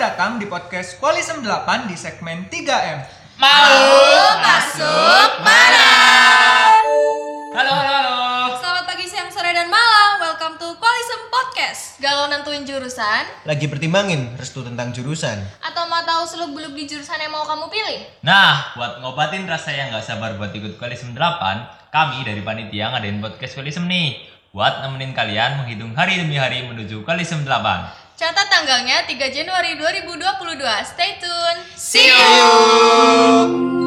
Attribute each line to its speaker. Speaker 1: datang di podcast Kualisem 8 di segmen 3M.
Speaker 2: Mau
Speaker 3: masuk mana?
Speaker 2: Halo halo halo.
Speaker 3: Selamat pagi, siang, sore, dan malam. Welcome to Qualism Podcast. Galau nentuin jurusan
Speaker 4: Lagi pertimbangin restu tentang jurusan.
Speaker 3: atau mau tahu seluk beluk di jurusan yang mau kamu pilih?
Speaker 2: Nah, buat ngobatin rasa yang gak sabar buat ikut Koalisem 8, kami dari panitia ngadain podcast Koalisem nih. Buat nemenin kalian menghitung hari demi hari menuju Koalisem 8.
Speaker 3: Catat tanggalnya 3 Januari 2022. Stay tune.
Speaker 2: See you.